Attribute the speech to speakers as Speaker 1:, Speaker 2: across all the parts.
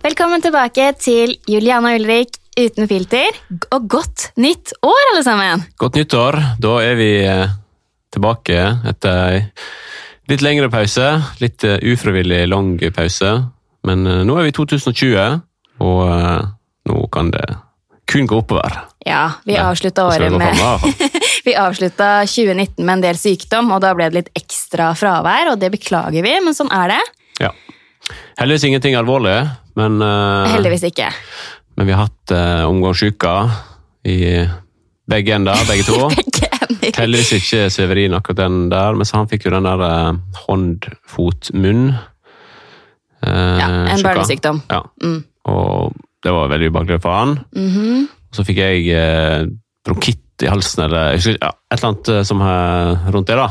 Speaker 1: Velkommen tilbake til Juliana Ulrik uten filter. G- Og godt nytt år, alle sammen!
Speaker 2: Godt nyttår. Da er vi eh, tilbake etter ei litt lengre pause. Litt eh, ufrivillig lang pause. Men eh, nå er vi i 2020, og eh, nå kan det kun gå oppover.
Speaker 1: Ja, vi
Speaker 2: Ja,
Speaker 1: avslutta
Speaker 2: Da skal
Speaker 1: året
Speaker 2: det gå
Speaker 1: med
Speaker 2: fremover, i hvert fall.
Speaker 1: Vi avslutta 2019 med en del sykdom, og da ble det litt ekstra fravær, og det beklager vi, men sånn er det.
Speaker 2: Ja. Heldigvis ingenting alvorlig, men, eh,
Speaker 1: Heldigvis ikke.
Speaker 2: men vi har hatt eh, omgangssyke i begge ender, begge to.
Speaker 1: Begge ender.
Speaker 2: Heldigvis ikke Severin akkurat den der, men så han fikk jo den der eh, hånd, fot, munn. eh,
Speaker 1: Ja, en
Speaker 2: sjuka.
Speaker 1: barnesykdom.
Speaker 2: Ja,
Speaker 1: Mm.
Speaker 2: og det var veldig ubehagelig for han.
Speaker 1: Mhm.
Speaker 2: Så fikk jeg eh, bronkitt i halsen, eller jeg husker, ikke, ja, et eller annet eh, som er rundt det da.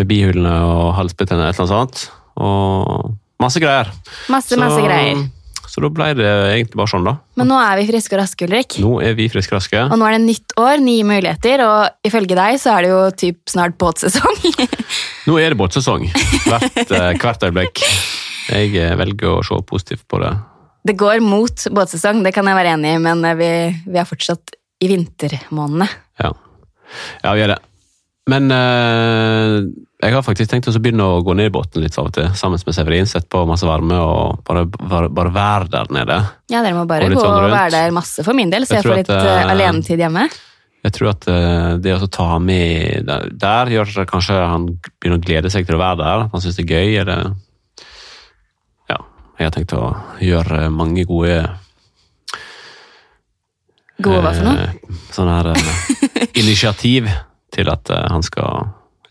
Speaker 2: Med bihulene og halsbetennelse, et eller annet sånt. Og masse greier.
Speaker 1: Masse, masse greier.
Speaker 2: Så da ble det egentlig bare sånn da.
Speaker 1: Men nå er vi friske og raske, Ulrik.
Speaker 2: Nå er vi friske raske.
Speaker 1: Og nå er det nytt år, nye muligheter, og ifølge deg så er det jo typ snart båtsesong.
Speaker 2: Nå er det båtsesong. Hvert, eh, hvert øyeblikk. Jeg eh, velger å se positivt på det.
Speaker 1: Det går mot båtsesong, det kan jeg være enig i, men vi, vi er fortsatt i vintermånedene.
Speaker 2: Ja, ja vi gjør det. Men eh, jeg har faktisk tenkt å begynne å gå ned i båten litt av og til, sammen med Severin. Sett på masse varme og bare, bare, bare være der nede.
Speaker 1: Ja, dere må bare
Speaker 2: Og litt
Speaker 1: gå
Speaker 2: sånn
Speaker 1: og
Speaker 2: rundt.
Speaker 1: være der masse for min del, så
Speaker 2: Jeg
Speaker 1: jeg, får
Speaker 2: tror
Speaker 1: litt
Speaker 2: at,
Speaker 1: eh,
Speaker 2: eh,
Speaker 1: alenetid hjemme.
Speaker 2: Jeg tror at eh, det å ta han med der, der gjør at kanskje han begynner å glede seg til å være der. Han syns det er gøy. Eller, ja, jeg har tenkt å gjøre mange gode
Speaker 1: Gode hva for noe?
Speaker 2: Eh, sånn her eh, initiativ til at eh, han skal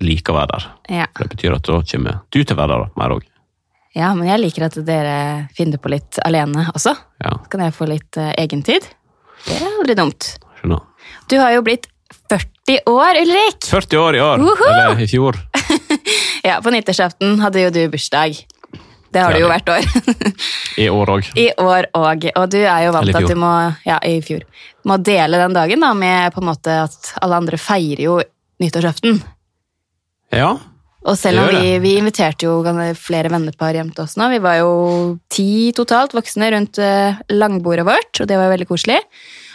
Speaker 2: like å være der.
Speaker 1: Ja.
Speaker 2: For Det betyr at da kommer du til å være der mer òg.
Speaker 1: ja, men jeg liker at dere finner på litt alene også.
Speaker 2: Ja,
Speaker 1: Så kan jeg få litt eh, egentid. Det er aldri dumt.
Speaker 2: skjønner.
Speaker 1: Du har jo blitt 40 år, Ulrik!
Speaker 2: 40 år i år,
Speaker 1: Woho!
Speaker 2: eller i fjor.
Speaker 1: Ja, på nyttårsaften hadde jo du bursdag. Det har
Speaker 2: Ja,
Speaker 1: du jo
Speaker 2: det-
Speaker 1: hvert år.
Speaker 2: I år òg.
Speaker 1: I år òg. Og du er jo vant
Speaker 2: Eller i
Speaker 1: til at du
Speaker 2: fjor.
Speaker 1: må, ja, i fjor, må dele den dagen da, med på en måte at alle andre feirer jo nyttårsaften.
Speaker 2: Ja.
Speaker 1: Og selv om
Speaker 2: Det gjør
Speaker 1: vi, vi inviterte jo gan- flere vennepar hjem til oss nå, vi var jo ti totalt voksne rundt eh, langbordet vårt, og det var jo veldig koselig.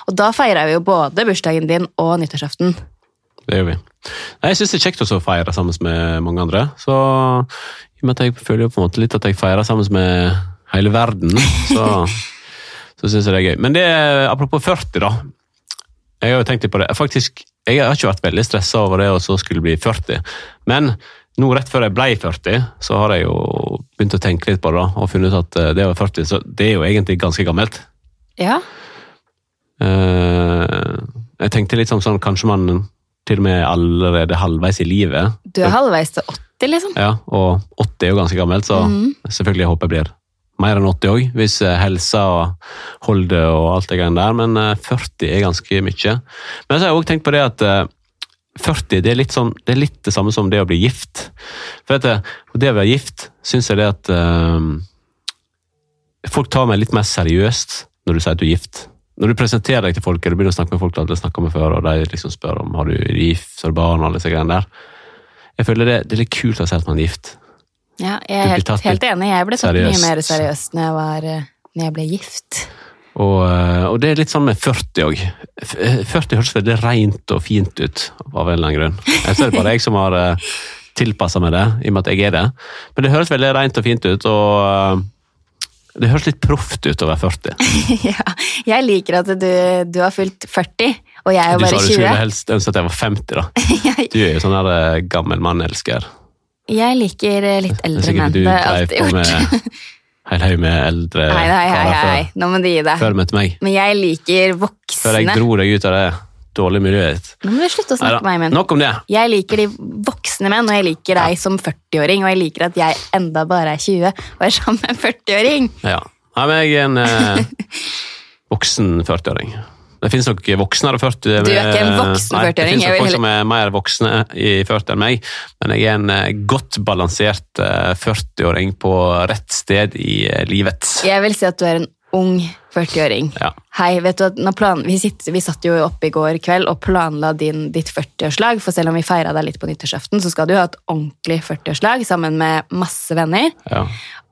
Speaker 1: Og da feira vi jo både bursdagen din og nyttårsaften.
Speaker 2: Det gjør vi. Nei, jeg syns det er kjekt også å feire sammen med mange andre. Så i og med at jeg føler jo på en måte litt at jeg feirer sammen med hele verden, så, så syns jeg det er gøy. Men det er apropos 40, da. Jeg har jo tenkt litt på det. Faktisk, jeg har ikke vært veldig stressa over det å så skulle bli 40. Men nå rett før jeg ble 40, så har jeg jo begynt å tenke litt på det da, og funnet ut at eh, det å være 40, så det er jo egentlig ganske gammelt.
Speaker 1: Ja,
Speaker 2: Eh, jeg tenkte litt sånn, sånn kanskje man til og med er allerede halvveis i livet.
Speaker 1: Du er halvveis til 80, liksom.
Speaker 2: Ja, og 80 er jo ganske gammelt, så selvfølgelig håper jeg blir mer enn 80 òg, hvis eh, helsa og holder og alt det greiene der, men eh, 40 er ganske mye. Men så har jeg òg tenkt på det at eh, 40 det er, litt sånn, det er litt det samme som det å bli gift. For at, eh, det å være gift syns jeg det at eh, folk tar meg litt mer seriøst når du sier at du er gift. Når du presenterer deg til folk, og du begynner å snakke med folk du aldri har snakket med før, og de liksom spør om har du er du gift, har du barn, og alle disse greiene der. Jeg føler det, det er litt kult å si at man er gift.
Speaker 1: Ja, jeg
Speaker 2: Du
Speaker 1: er
Speaker 2: blir
Speaker 1: helt,
Speaker 2: tatt
Speaker 1: helt enig. Jeg ble tatt mye
Speaker 2: seriøst.
Speaker 1: mer seriøst når jeg, var, eh, når jeg ble gift.
Speaker 2: Og, eh, og det er litt sånn med 40 òg. 40 eh, høres veldig rent og fint ut, av en eller annen grunn. Jeg ser det bare jeg som har tilpassa meg det, i og med at jeg er det. Men det høres veldig rent og fint ut, og eh, det høres litt proft ut å være 40.
Speaker 1: ja, jeg liker at du, du har fylt 40, og jeg er jo
Speaker 2: Du sa
Speaker 1: bare 20.
Speaker 2: du skulle helst ønske at jeg var 50, da.
Speaker 1: Jeg,
Speaker 2: Du er jo sånn der eh, gammel mann-elsker.
Speaker 1: jeg liker eh, litt
Speaker 2: Det er
Speaker 1: eldre menn.
Speaker 2: sikkert du
Speaker 1: Det har jeg
Speaker 2: dreiv
Speaker 1: alltid
Speaker 2: på
Speaker 1: gjort.
Speaker 2: med eh, hel haug med eldre
Speaker 1: Nei, nei, nei,
Speaker 2: karer
Speaker 1: nei, nei.
Speaker 2: før-
Speaker 1: Nå må du gi deg.
Speaker 2: før du møtte meg.
Speaker 1: Men jeg liker
Speaker 2: Før jeg
Speaker 1: voksne.
Speaker 2: dro deg ut av det dårlige miljøet ditt.
Speaker 1: Nå må du slutte å
Speaker 2: Neida,
Speaker 1: snakke meg, men.
Speaker 2: Nok om det.
Speaker 1: Jeg liker de voksne menn, og jeg liker deg som 40-åring, og jeg liker at jeg enda bare er 20 og er sammen med en 40-åring.
Speaker 2: Ja. Nei, men jeg er en eh, voksen 40-åring. Det finnes nok voksnere 40
Speaker 1: Du er ikke en voksen
Speaker 2: Nei,
Speaker 1: 40-åring,
Speaker 2: Det
Speaker 1: jeg vil
Speaker 2: finnes nok folk
Speaker 1: heller-
Speaker 2: som er mer voksne i 40 enn meg, men jeg er en eh, godt balansert eh, 40-åring på rett sted i eh, livet.
Speaker 1: Jeg vil si at du er en ung 40-åring.
Speaker 2: Ja.
Speaker 1: Hei, vet du at nå plan, vi, sitter, vi satt jo oppe i går kveld og planla din, ditt 40-årslag, for selv om vi feira deg litt på nyttårsaften, så skal du ha et ordentlig 40-årslag sammen med masse venner.
Speaker 2: Ja.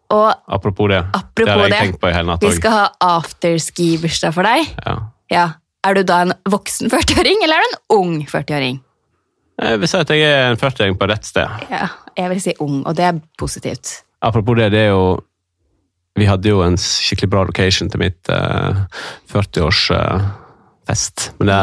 Speaker 1: Og
Speaker 2: Apropos det. det
Speaker 1: apropos
Speaker 2: har jeg
Speaker 1: det,
Speaker 2: tenkt på i hele natt
Speaker 1: vi
Speaker 2: òg.
Speaker 1: skal ha afterski-bursdag for deg.
Speaker 2: Ja.
Speaker 1: Ja. Er du da en voksen 40-åring, eller er du en ung 40-åring?
Speaker 2: Jeg vil si at jeg er en 40-åring på rett sted.
Speaker 1: Ja, jeg vil si ung, og det er positivt.
Speaker 2: Apropos det, det er jo Vi hadde jo en skikkelig bra location til mitt eh, 40-årsfest. Men det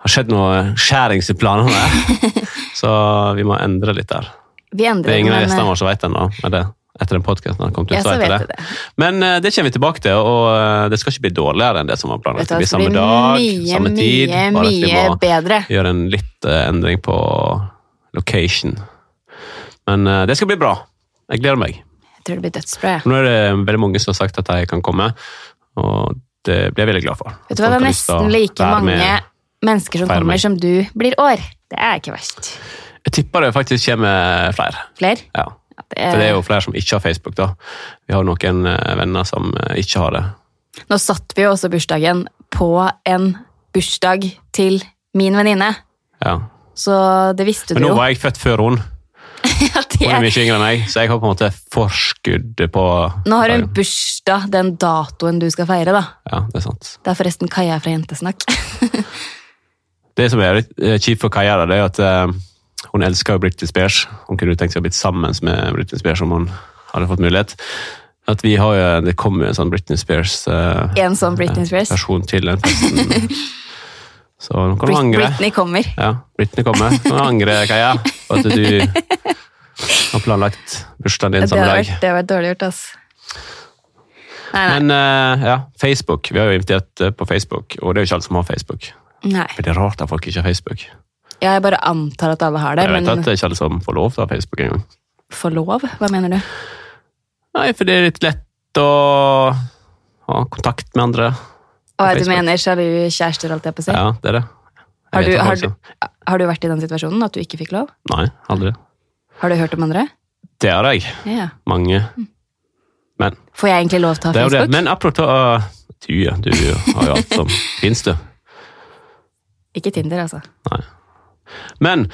Speaker 2: har skjedd noe skjærings i planene, så vi må endre litt der.
Speaker 1: Vi endrer
Speaker 2: Det er ingen av
Speaker 1: men,
Speaker 2: gjestene våre som vet ennå. men det- Etter den podkasten har kommet ut,
Speaker 1: Ja,
Speaker 2: så
Speaker 1: så
Speaker 2: vet jeg
Speaker 1: vet
Speaker 2: det.
Speaker 1: du det.
Speaker 2: Men eh, det kommer vi tilbake til, og eh, det skal ikke bli dårligere enn det som var
Speaker 1: Vet
Speaker 2: planlagt.
Speaker 1: du hva,
Speaker 2: Det blir
Speaker 1: det
Speaker 2: samme
Speaker 1: blir
Speaker 2: dag,
Speaker 1: mye,
Speaker 2: samme tid.
Speaker 1: mye,
Speaker 2: bare at vi
Speaker 1: mye
Speaker 2: må-
Speaker 1: bedre.
Speaker 2: gjøre en litt eh, endring på location. Men eh, det skal bli bra. Jeg gleder meg.
Speaker 1: Jeg tror det blir dødsbra. jeg.
Speaker 2: Nå er det veldig mange som har sagt at de kan komme, og det blir jeg veldig glad for.
Speaker 1: Vet du hva, det er
Speaker 2: Folk har lyst til å
Speaker 1: nesten like
Speaker 2: være
Speaker 1: mange
Speaker 2: med.
Speaker 1: mennesker som
Speaker 2: Feire meg.
Speaker 1: kommer som du blir år. Det er ikke verst.
Speaker 2: Jeg tipper det faktisk kommer flere.
Speaker 1: Flere?
Speaker 2: Ja.
Speaker 1: Ja,
Speaker 2: For det
Speaker 1: Eh.
Speaker 2: er jo flere som ikke har Facebook, da. Vi har noen eh, venner som eh, ikke har det.
Speaker 1: Nå satt vi jo også bursdagen på en bursdag til min venninne,
Speaker 2: Ja.
Speaker 1: så det visste
Speaker 2: Men
Speaker 1: du
Speaker 2: nå
Speaker 1: jo.
Speaker 2: var jeg født før hun.
Speaker 1: Ja, det
Speaker 2: Hun er
Speaker 1: er-
Speaker 2: mye yngre enn meg, så jeg har på en måte forskudd på
Speaker 1: Nå har hun
Speaker 2: dagen.
Speaker 1: bursdag den datoen du skal feire, da.
Speaker 2: Ja, det er sant.
Speaker 1: Det er forresten Kaja fra Jentesnakk.
Speaker 2: Det som er litt eh, kjipt for Kaja, da, det er at eh, hun elsker jo Britney Spears. Hun kunne jo tenkt seg å bli sammen med Britney Spears om hun hadde fått mulighet. At vi har jo, Det kom jo en sånn Britney Spears-versjon
Speaker 1: En sånn Britney Spears.
Speaker 2: til den festen. Så nå kan du
Speaker 1: Brit
Speaker 2: angre.
Speaker 1: Britney kommer.
Speaker 2: Ja, Britney kommer. Nå kan du angre, Kaja, på at du har planlagt
Speaker 1: Ja,
Speaker 2: bursdagen din
Speaker 1: Det
Speaker 2: samme
Speaker 1: har
Speaker 2: dag.
Speaker 1: vært, det har vært dårlig gjort, ass. Nei, nei.
Speaker 2: Men eh, ja, Facebook. Vi har jo invitert eh, på Facebook, og det er jo ikke alle som har Facebook.
Speaker 1: nei.
Speaker 2: Veldig rart at folk ikke har Facebook.
Speaker 1: Ja, jeg bare antar at alle har det,
Speaker 2: Jeg vet
Speaker 1: men
Speaker 2: at det er ikke alle som får lov til å ha Facebook engang.
Speaker 1: får lov? Hva mener du?
Speaker 2: Nei, for det er litt lett å ha kontakt med andre.
Speaker 1: Og
Speaker 2: På
Speaker 1: du
Speaker 2: Facebook.
Speaker 1: mener sjalu kjærester, holdt jeg på å si?
Speaker 2: Ja, det er det. Jeg
Speaker 1: har,
Speaker 2: vet
Speaker 1: du,
Speaker 2: at folk
Speaker 1: har,
Speaker 2: som-
Speaker 1: du, har du vært i den situasjonen at du ikke fikk lov?
Speaker 2: Nei, aldri.
Speaker 1: Har du hørt om andre?
Speaker 2: Det har jeg.
Speaker 1: Ja.
Speaker 2: Mange. Men
Speaker 1: Får jeg egentlig lov til å
Speaker 2: det
Speaker 1: ha
Speaker 2: er jo det.
Speaker 1: Mm. Facebook?
Speaker 2: Men apropos uh, du, ja, du har jo alt som finnes, du.
Speaker 1: Ikke Tinder, altså.
Speaker 2: Men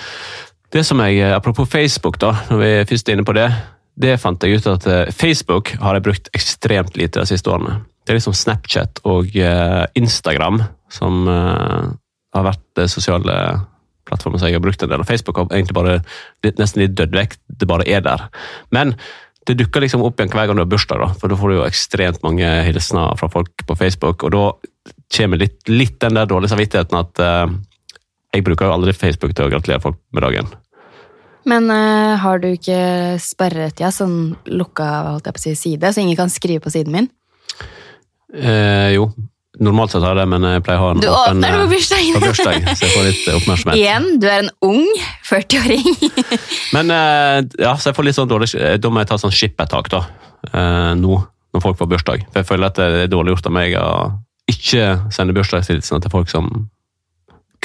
Speaker 2: det som jeg, eh, apropos Facebook, da, når vi først er inne på det, det fant jeg ut at eh, Facebook har jeg brukt ekstremt lite de siste årene. Det er liksom Snapchat og eh, Instagram som eh, har vært det sosiale plattformen som jeg har brukt en del. Og Facebook har egentlig bare litt, nesten litt dødd vekk, det bare er der. Men det dukker liksom opp igjen hver gang du har bursdag, da, for da får du jo ekstremt mange hilsener fra folk på Facebook, og da kommer litt, litt den der dårlige samvittigheten at eh, jeg bruker jo aldri Facebook til å gratulere folk med dagen.
Speaker 1: Men eh, har du ikke sperret ja, sånn lukka holdt jeg på å si, side, så ingen kan skrive på siden min?
Speaker 2: Eh, jo, normalt sett har jeg det, men jeg pleier å ha en
Speaker 1: Du
Speaker 2: åpen
Speaker 1: åpner det på
Speaker 2: eh, på
Speaker 1: bursdagen!
Speaker 2: bursdag, så jeg får litt oppmerksomhet.
Speaker 1: Igjen, du er en ung 40-åring.
Speaker 2: Men eh, ja, så jeg får litt sånn dårlig, eh, da må jeg ta sånn skippertak da, eh, nå, når folk får bursdag. For jeg føler at det er dårlig gjort av meg å ikke sende bursdagshilsener til folk som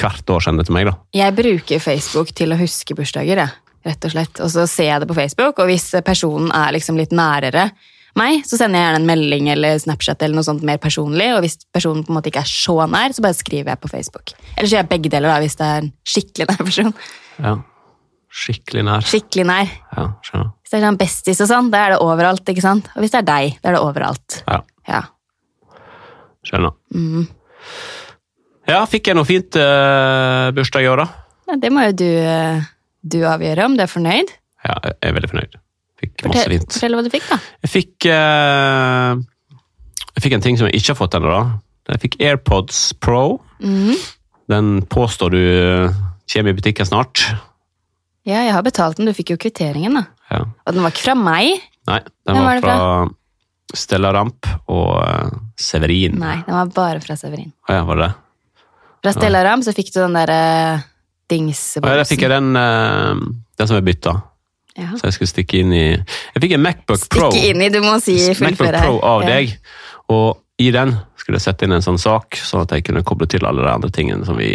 Speaker 2: hvert år sender til meg da.
Speaker 1: Jeg bruker Facebook til å huske bursdager, jeg, rett og slett. Og så ser jeg det på Facebook, og hvis personen er liksom litt nærere meg, så sender jeg gjerne en melding eller Snapchat eller noe sånt mer personlig, og hvis personen på en måte ikke er så nær, så bare skriver jeg på Facebook. Eller så gjør jeg begge deler da, hvis det er en skikkelig nær person.
Speaker 2: Ja, skikkelig nær.
Speaker 1: Skikkelig nær.
Speaker 2: Ja, skjønner.
Speaker 1: Hvis det er sånn bestis og sånn, da er det overalt, ikke sant? Og hvis det er deg, da er det overalt.
Speaker 2: Ja,
Speaker 1: Ja. mm.
Speaker 2: skjønner. Ja, fikk jeg noe fint eh, bursdag i år da?
Speaker 1: ja det må jo du, eh, du avgjøre om du er fornøyd.
Speaker 2: Ja, jeg er veldig fornøyd. Fikk masse
Speaker 1: Fortell,
Speaker 2: fint.
Speaker 1: fortell hva du fikk, da.
Speaker 2: Jeg fikk, eh, jeg fikk en ting som jeg ikke har fått ennå. da. Jeg fikk AirPods Pro.
Speaker 1: Mm.
Speaker 2: Den påstår du eh, kommer i butikken snart.
Speaker 1: Ja, jeg har betalt den, du fikk jo kvitteringen, da.
Speaker 2: Ja.
Speaker 1: Og den var ikke fra meg.
Speaker 2: Nei, den
Speaker 1: Hvem
Speaker 2: var,
Speaker 1: var det
Speaker 2: fra, Stella Ramp og eh, Severin.
Speaker 1: Nei, den var bare fra Severin.
Speaker 2: Å ja, var det det?
Speaker 1: Fra Stella Ram så fikk du den derre uh, dingseboksen.
Speaker 2: Å ja, der fikk jeg den, eh, den som jeg bytta.
Speaker 1: Ja.
Speaker 2: Så jeg skulle stikke inn i Jeg fikk en Macbook Pro.
Speaker 1: Stikke inn i, du må si
Speaker 2: MacBook
Speaker 1: fullføre her.
Speaker 2: Pro av
Speaker 1: Ja.
Speaker 2: deg. Og i den skulle jeg sette inn en sånn sak, sånn at jeg kunne koble til alle de andre tingene som vi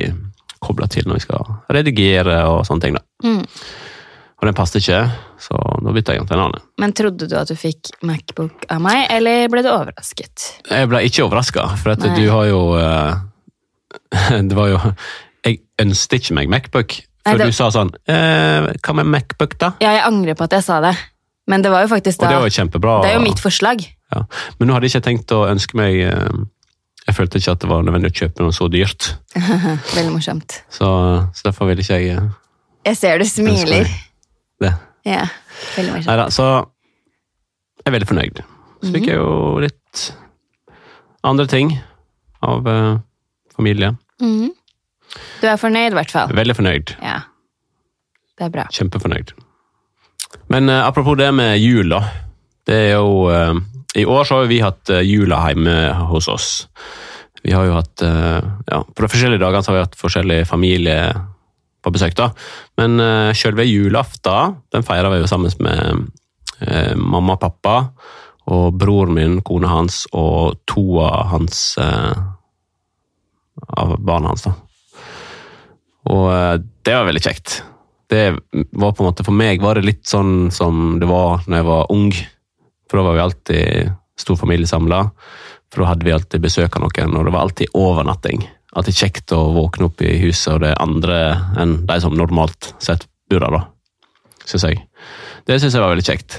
Speaker 2: kobler til når vi skal redigere og sånne ting. da.
Speaker 1: Mm.
Speaker 2: Og den passet ikke, så da bytta jeg den til en annen.
Speaker 1: Men trodde du at du fikk Macbook av meg, eller ble du overrasket?
Speaker 2: Jeg ble ikke overraska, for at
Speaker 1: Nei.
Speaker 2: du har jo eh, Det var jo Jeg ønsket ikke meg Macbook,
Speaker 1: Nei,
Speaker 2: for
Speaker 1: det-
Speaker 2: du sa sånn eh, Hva med Macbook, da?
Speaker 1: Ja, jeg angrer på at jeg sa det. Men det var jo faktisk
Speaker 2: Og
Speaker 1: da
Speaker 2: det var jo kjempebra.
Speaker 1: Det er jo mitt forslag.
Speaker 2: Ja. Men nå hadde jeg ikke tenkt å ønske meg eh, Jeg følte ikke at det var nødvendig å kjøpe noe så dyrt.
Speaker 1: Veldig morsomt.
Speaker 2: Så, så derfor ville ikke jeg eh,
Speaker 1: Jeg ser du
Speaker 2: ønske
Speaker 1: smiler.
Speaker 2: meg det.
Speaker 1: Ja, veldig morsomt.
Speaker 2: Neida, så jeg er veldig fornøyd. Så fikk jeg jo litt andre ting av eh, familie.
Speaker 1: Mhm. Du er fornøyd, i hvert fall.
Speaker 2: Veldig fornøyd.
Speaker 1: Ja. Det er bra.
Speaker 2: Kjempefornøyd. Men eh, apropos det med jula. Det er jo eh, I år så har jo vi hatt eh, jula hjemme hos oss. Vi har jo hatt eh, ja, På de forskjellige dagene så har vi hatt forskjellig familie på besøk, da. Men eh, selve julaften, den feirer vi jo sammen med eh, mamma og pappa. Og broren min, kona hans og to av hans eh, Av barna hans, da. Og eh, det var veldig kjekt. Det var på en måte, For meg var det litt sånn som det var når jeg var ung. For da var vi alltid stor familie samla. For da hadde vi alltid besøk av noen, og det var alltid overnatting. Alltid kjekt å våkne opp i huset, og det er andre enn de som normalt sett bor der, da. Syns jeg. Det syns jeg var veldig kjekt.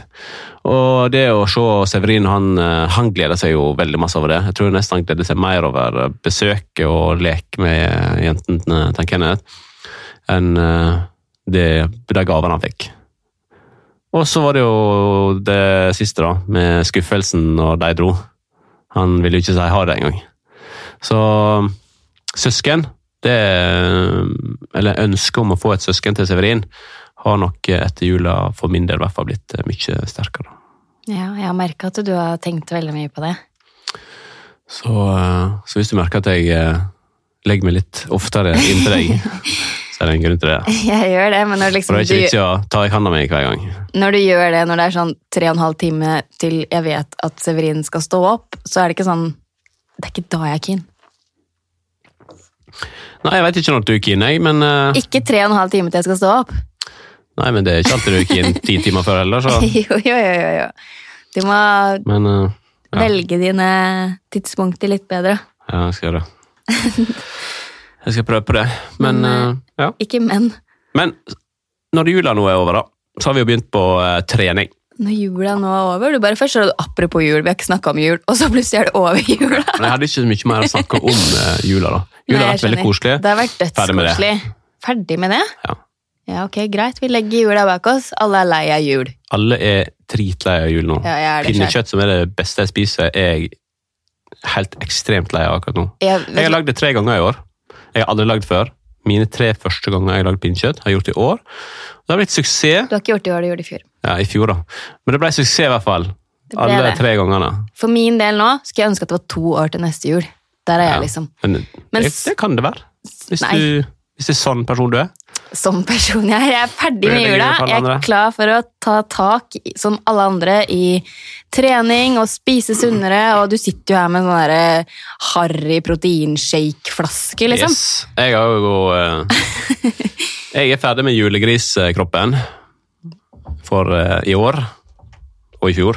Speaker 2: Og det å se Severin, han, eh, han gleder seg jo veldig masse over det. Jeg tror nesten han gleder seg mer over eh, besøket og leke med jentene til Kenneth enn eh, det, de gavene han fikk. Og så var det jo det siste, da, med skuffelsen når de dro. Han ville jo ikke si ha det engang. Så um, søsken det um, Eller ønsket om å få et søsken til Severin har nok etter jula for min del i hvert fall blitt eh, mye sterkere.
Speaker 1: Ja, jeg har merka at du har tenkt veldig mye på det.
Speaker 2: Så, eh, så hvis du merker at jeg eh, legger meg litt oftere inn til deg, så er det en grunn til det.
Speaker 1: Jeg gjør det, men når,
Speaker 2: For
Speaker 1: liksom
Speaker 2: det er ikke
Speaker 1: du,
Speaker 2: vits i å ta i handa mi hver gang.
Speaker 1: når du gjør det når det er sånn tre og en halv time til jeg vet at Severin skal stå opp, så er det ikke sånn Det er ikke da jeg er keen.
Speaker 2: Nei, jeg vet ikke når du er keen, jeg, men, eh,
Speaker 1: Ikke tre og en halv time til jeg skal stå opp.
Speaker 2: nei, men det er ikke alltid du er keen ti timer før heller, så
Speaker 1: Jo, jo, jo, jo. jo. Du må
Speaker 2: Men eh, ja,
Speaker 1: velge dine tidspunkter litt bedre.
Speaker 2: ja, jeg skal gjøre det. Jeg skal prøve på det. Men,
Speaker 1: Men,
Speaker 2: eh, ja.
Speaker 1: Ikke men.
Speaker 2: men når jula nå er over, da, så har vi jo begynt på eh, trening.
Speaker 1: Når jula nå er over du bare Først sa du apropos jul, vi har ikke snakka om jul, og så plutselig er det over jula.
Speaker 2: Men jeg hadde ikke så mye mer å snakke om eh, jula, da.
Speaker 1: Nei,
Speaker 2: Jula har
Speaker 1: jeg
Speaker 2: vært veldig
Speaker 1: skjønner.
Speaker 2: koselig.
Speaker 1: Det har vært
Speaker 2: Ferdig med det.
Speaker 1: dødskoselig. Ferdig med det?
Speaker 2: Ja.
Speaker 1: Ja, ok, greit. Vi legger jula bak oss. Alle er lei av jul.
Speaker 2: Alle er dritlei av jul nå.
Speaker 1: Ja, jeg er det selv.
Speaker 2: Pinnekjøtt, som er det beste jeg spiser, er jeg helt ekstremt lei av akkurat nå.
Speaker 1: Jeg,
Speaker 2: Jeg har
Speaker 1: vet,
Speaker 2: lagd det tre ganger i år. Jeg har aldri lagd før. Mine tre første ganger jeg har lagd pinnekjøtt, har jeg gjort i år. Det har blitt suksess
Speaker 1: du har ikke gjort det i år, du gjorde det i fjor.
Speaker 2: ja, i fjor, da. Men det ble suksess i hvert fall.
Speaker 1: Det ble
Speaker 2: Alle
Speaker 1: det.
Speaker 2: tre gangene.
Speaker 1: For min del nå skulle jeg ønske at det var to år til neste jul. Der er
Speaker 2: Ja.
Speaker 1: jeg liksom.
Speaker 2: Men
Speaker 1: Men
Speaker 2: det,
Speaker 1: s-
Speaker 2: det kan det være. Hvis,
Speaker 1: Nei.
Speaker 2: du, hvis det er sånn person du er.
Speaker 1: Sånn person jeg er. Jeg er ferdig med
Speaker 2: Ødelegger
Speaker 1: jula.
Speaker 2: for alle
Speaker 1: Jeg er
Speaker 2: andre.
Speaker 1: klar for å ta tak, i- som alle andre, i trening og spise sunnere. Og du sitter jo her med en sånn derre harry proteinshake-flaske, liksom.
Speaker 2: Yes. Jeg har jo eh, Jeg er ferdig med julegriskroppen for eh, i år. Og i fjor.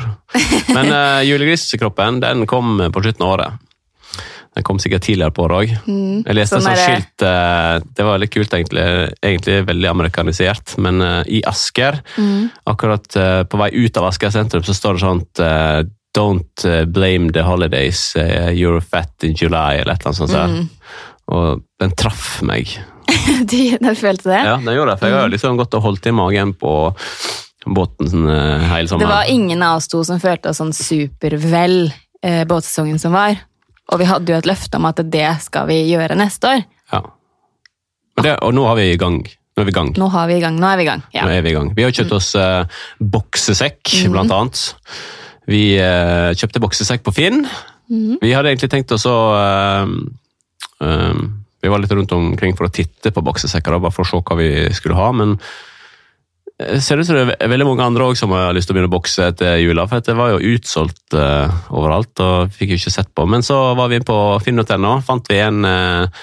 Speaker 2: Men eh, julegriskroppen den kom på slutten av året. Den kom sikkert tidligere på året òg. Jeg leste
Speaker 1: Sånn
Speaker 2: et sånt
Speaker 1: er det.
Speaker 2: skilt eh, Det var litt kult, egentlig. Egentlig veldig amerikanisert. Men eh, i Asker,
Speaker 1: Mm.
Speaker 2: akkurat eh, på vei ut av Asker sentrum, så står det sånt eh, Don't eh, blame the holidays, eh, you're fat in July, eller et eller annet sånt. der.
Speaker 1: Mm.
Speaker 2: Og den traff meg.
Speaker 1: Du, du følte det?
Speaker 2: Ja, den gjorde det, for jeg har
Speaker 1: Mm.
Speaker 2: jo liksom gått og holdt i magen på båten sånn, eh, hele
Speaker 1: Det var
Speaker 2: sommeren.
Speaker 1: ingen av oss to som følte oss sånn supervel eh, båtsesongen som var. Og vi hadde jo et løfte om at det skal vi gjøre neste år.
Speaker 2: Ja. Og, det, og nå har vi i gang. Nå er vi i gang.
Speaker 1: Nå har vi i gang. Nå er vi i gang. Ja. Mm.
Speaker 2: Nå er vi i gang. Vi har kjøpt oss eh, boksesekk, blant annet. Vi eh, kjøpte boksesekk på Finn.
Speaker 1: Mhm.
Speaker 2: Vi hadde egentlig tenkt oss å eh, eh, Vi var litt rundt omkring for å titte på boksesekker, da, bare for å se hva vi skulle ha, men eh, ser ut som det er veldig mange andre også som har lyst til å begynne å bokse etter jula, for at det var jo utsolgt eh, overalt, og fikk jo ikke sett på. Men så var vi inne på finn.no, fant vi en eh,